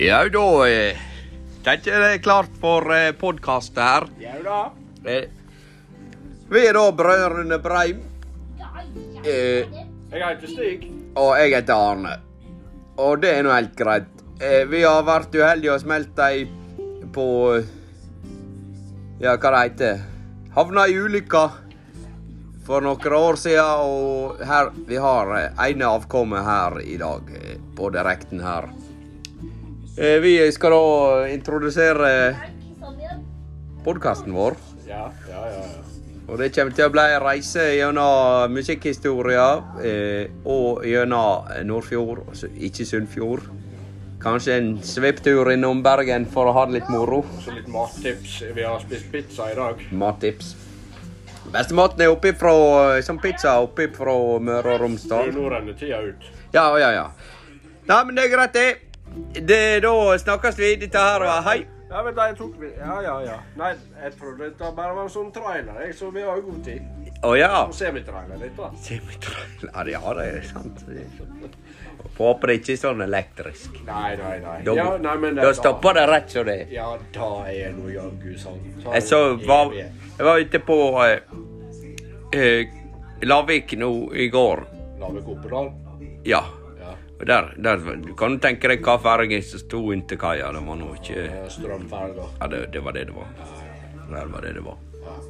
Jau da, eh, tenker jeg det er klart for eh, podkast her. Jau da. Eh, Vi er da Brødrene Breim, eh, Jeg er ikke stygg. og jeg heter Arne. Og det er nå helt greit. Eh, vi har vært uheldige og smelt ei på eh, Ja, hva det heter Havna i ulykka for noen år siden, og her, vi har eh, ene avkommet her i dag eh, på direkten her. Eh, vi skal da introdusere podkasten vår. Ja, ja, ja. ja. Og det kommer til å bli en reise gjennom musikkhistoria eh, og gjennom Nordfjord, altså ikke Sunnfjord. Kanskje en svipptur innom Bergen for å ha det litt moro. Så litt mattips. Vi har spist pizza i dag. Mattips. Beste maten er oppi fra, som pizza oppi fra Møre og Det er Romsdal. jo nå renner tida ut. Ja, ja, ja. Nei, men det er greit, det. det da snakkes vi. Dette her var hei. Ja, men da jeg tok vi. Ja, ja, ja. Nei, jeg trodde det bare var en sånn trailer, jeg, så vi har jo god tid. Å ja. Nå ser vi trailer litt, da. Ja, det er sant. Får håpe det ikke er sånn elektrisk. Nei, nei, nei. Da, Ja, nei, men da stopper det rett som det er. Ja, da er det noe jaggu sånn. Så Jeg så var, evig. jeg var ute på eh, eh, Lavik nå i går. La meg gå på da. Ja. Ja. Og der, der Du kan jo tenke deg hva fergen som sto inntil kaia. Det var nå ikke Ja, Eh, Strømferga. det, det var det det var. Det var det det var. Det var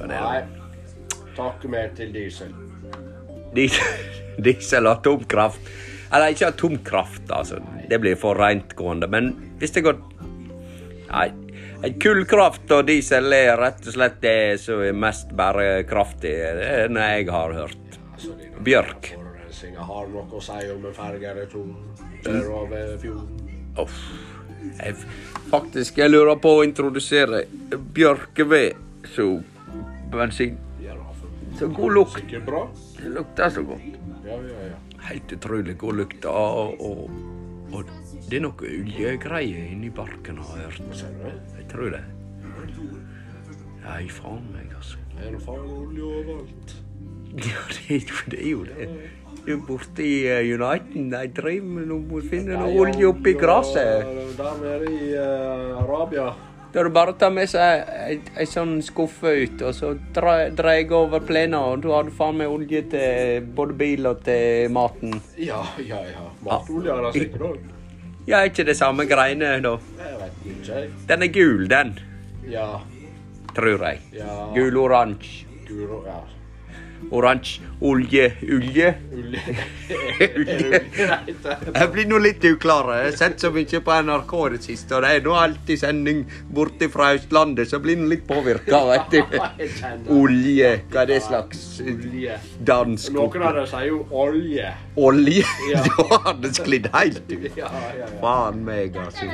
det det Nei. var. Takk mer til diesel. Diesel- Diesel og atomkraft. Eller ikke atomkraft, altså. Det blir for rentgående. Men hvis det går Nei. Kullkraft og diesel er rett og slett det som er mest bærekraftig. Det er det jeg har hørt. Altså, det er noe Bjørk. Forurensinga har noe å si om en ferge eller to der over fjorden. Uff. Jeg, faktisk, jeg lurer på å introdusere bjørkeved som bensin. Ja, da, for- Så god lukt. Sikkert bra. Det lukter så godt. Ja, ja, ja. Helt utrolig god lukt. Og, og, og det er noe oljegreier inni barken, har jeg hørt. Hva sier du? Jeg tror det. Nei, faen meg, altså. Er det faen olje overalt? Ja, det er jo det. Er jo det. Det er jo borte i eh, Uniten. De driver med noe, må finne noe olje oppi gresset. Der nede i eh, Arabia. Da er det bare å ta med seg ei, ei sånn skuffe ut, og så drar jeg over plenen, og da har du faen meg olje til både bil og til maten. Ja, ja, ja. Matolje Ah, har de sikkert òg. Ja, er ikke det samme greiene, da? Jeg vet ikke, jeg. Den er gul, den. Ja. Tror jeg. Ja. Gul-oransje. Guro Ja. Oransje. Olje. Olje. Olje Er det olje det heter? Jeg blir nå litt uklar. Jeg har sett så mye på NRK det siste, og det er nå alltid sending borte fra Østlandet, så jeg blir nå litt påvirka, vet Jeg du. kjenner. Olje. Hva er det slags Olje. dansk Noen av dem sier jo olje. Olje? Ja. Da har det sklidd helt ut. Ja, ja, ja. Faen meg, altså.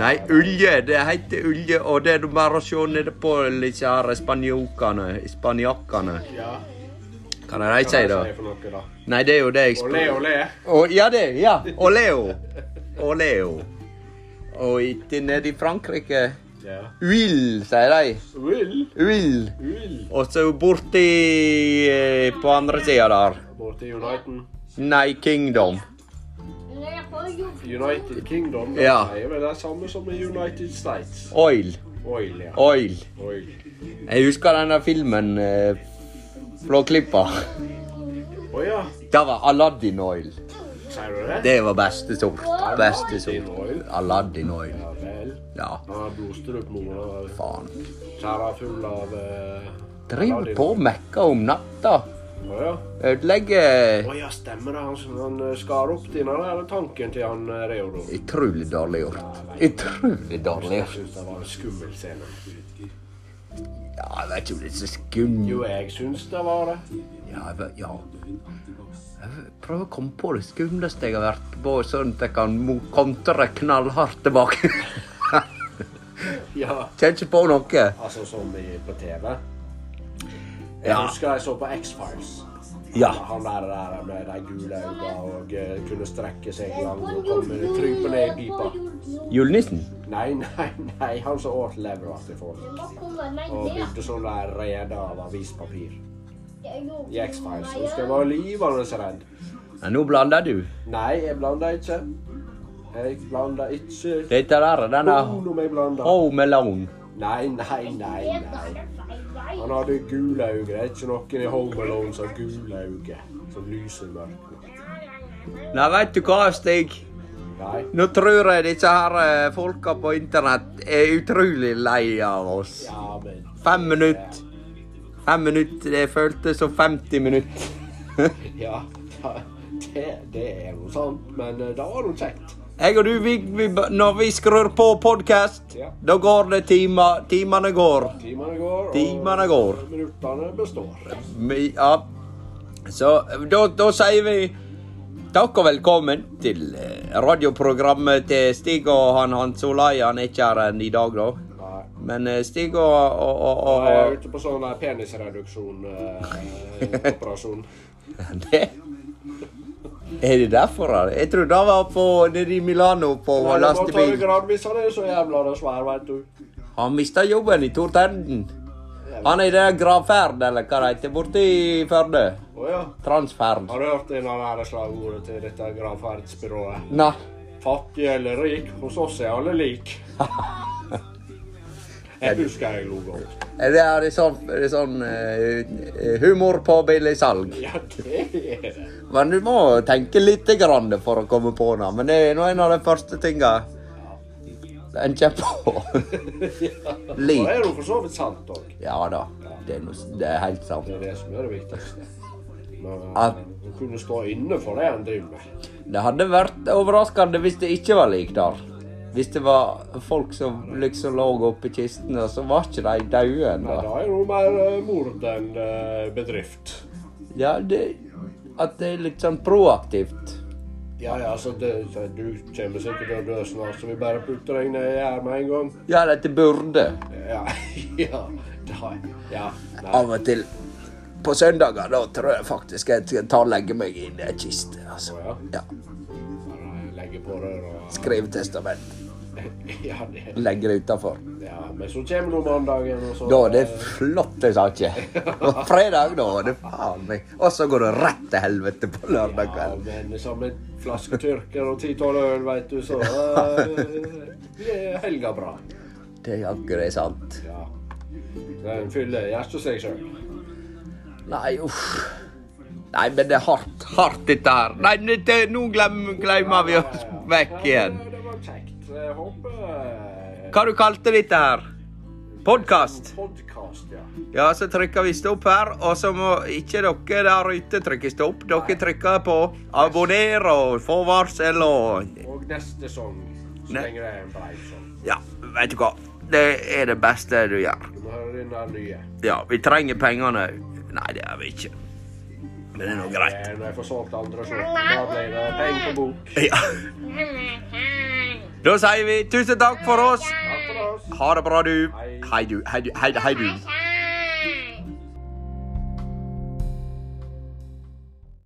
Nei, olje. Det heter olje, og det er nå bare å se nede på disse her spanjokene Spanjakkene. ja. Hva er det de Hva sier, er det da? de sier for noe, da? Nei, det er jo det jeg Olé, spør. olé. Og, ja, det. Ja. Og Leo. Og Leo. Og ikke nede i Frankrike Ja. Uil, sier de. Ull. Uil. Ull. Og så borti eh, på andre sida der. Borte i Uniten. Nei, Kingdom. United Kingdom. de Ja. sier vel Det er samme som i United States. Oil. Oil, ja. Oil. Oil. Jeg husker denne filmen eh, Flåklippa. Å ja. Det var Aladdin Oil. Sier du det? Det var beste sort. Beste sort. Oil. Aladdin Oil. Ja vel. Ja, Han har blodstrupmor og faen. kjerra full av eh, Driver Aladdin. på og mekker om natta. Å ja. Ødelegger Å ja, stemmer det. Han, som- han eh, skar opp denne der tanken til han eh, Reodor. Utrolig dårlig gjort. Utrolig dårlig Jeg gjort. syns det var en skummel scene. Ja, jeg vet ikke om det er så skummelt. Jo, jeg syns det var det. Ja, jeg vet- ja. Jeg prøver å komme på det skumleste jeg har vært på, sånn at jeg kan mo- kontre knallhardt tilbake. Ja. Kjenner ikke på noe. Altså som i, på TV. Jeg Ja. husker jeg så på X-Files. Ja. Han der, der med de gule øynene og eh, kunne strekke seg langt og komme krype ned i pipa. Julenissen? Nei, nei, nei. Han som åt levra til folk. Og bygde sånn der rede av avispapir. I X-Files. Husker jeg var livende redd. Ja, nå blander du. Nei, jeg blanda ikke. Jeg blander ikke Dette der er denne Bono jeg blander. Home Alone. Nei, nei, nei. nei. Han hadde gule øyne. Det er ikke noen i Home Alone som har gule øyne. Som lyser i mørket. Nei, vet du hva, Stig? Nei. Nå tror jeg disse her eh, folka på internett er utrolig lei av oss. Ja, men Fem minutter. Fem minutter, det føltes som 50 minutter. Ja, ja, det, det er noe sant. Men eh, det var noe kjekt. Jeg og du, vi, vi, når vi skrur på podkast, Ja. da går det timer. Timene går. Timene går, og Timene går. minuttene består. Vi- Ja. Så da, da sier vi takk og velkommen til eh, radioprogrammet til Stig og han Hans Olai. Han er ikke her enn i dag, da. Nei. Men eh, Stig og, og, og, og, Jeg er ute på sånn eh, der penisreduksjon-operasjon. Det Er det derfor? da? Jeg tror det var på nede i Milano på lastebil. Gradvis han er så jævla svær, veit du. Han mista jobben i Tortenden. Han er i det der gravferd, eller hva det heter, borte i Førde. Å ja. Transferd. Har du hørt en av de slagordene til dette gravferdsbyrået? Nei. Fattig eller rik, hos oss er alle lik. Jeg husker jeg lo godt. Det er det sånn, det er sånn eh, humor på billig salg. Ja, det er det. Men du må tenke litt grann for å komme på det. Men det er nå en av de første tinga en kommer på. Og det Lik. er jo for så vidt sant òg. Ja da. Det er, noe, det er helt sant. Det er det som er det viktigste. Men At- å kunne stå inne for det en driver med. Det hadde vært overraskende hvis det ikke var lik der. Hvis det var folk som liksom lå oppi kisten, og så var ikke de døde Nei, ennå. da er det noe mer eh, mord enn eh, bedrift. Ja, det, at det er litt sånn proaktivt. Ja, ja, så det, så du kommer sikkert til å dø snart, så vi bare putter deg ned i her med en gang. Ja, dette burde. Ja, ja, da, ja, nei, Av og til på søndager, da tror jeg faktisk jeg skal ta og legge meg i en kiste. altså. Å, Ja, bare legge på røret og Skrive testament. Ja, det, Legge det utafor. ja, men så kommer nå mandagen, og så Da er det flotte saker. Og fredag, da er det faen meg Og så går det rett til helvete på lørdag Ja, kveld. men liksom som en flaske tyrker og ti-tolv øl, veit du, så eh, blir helga bra. Det er jaggu det er sant. Ja. Den fyller hjertet seg sjøl. Nei, uff. Nei, men det er hardt, hardt dette her. Nei, dette, nå glem, glemmer vi oss vekk igjen. Ja, det var Eh, kjekt. Jeg håper eh, Hva du kalte dette her? Podkast? Podkast, ja. Ja, så trykker vi stopp her, og så må ikke dere der ute trykke stopp. Dere trykker på abonner og få varsel og Og neste sang. Så Ne- lenge det er en brei sang. Ja, vet du hva. Det er det beste du gjør. Du må høre den der nye. Ja, vi trenger pengene. Nei, det gjør vi ikke. Men det er nå greit. Eh, Når jeg får solgt andre, så da blir det penger på bok. Ja. Da sier vi tusen takk for oss. Takk for oss. Ha det bra, du. Hei. Hei, du. Hei, du. Hei, hei, du. Hei,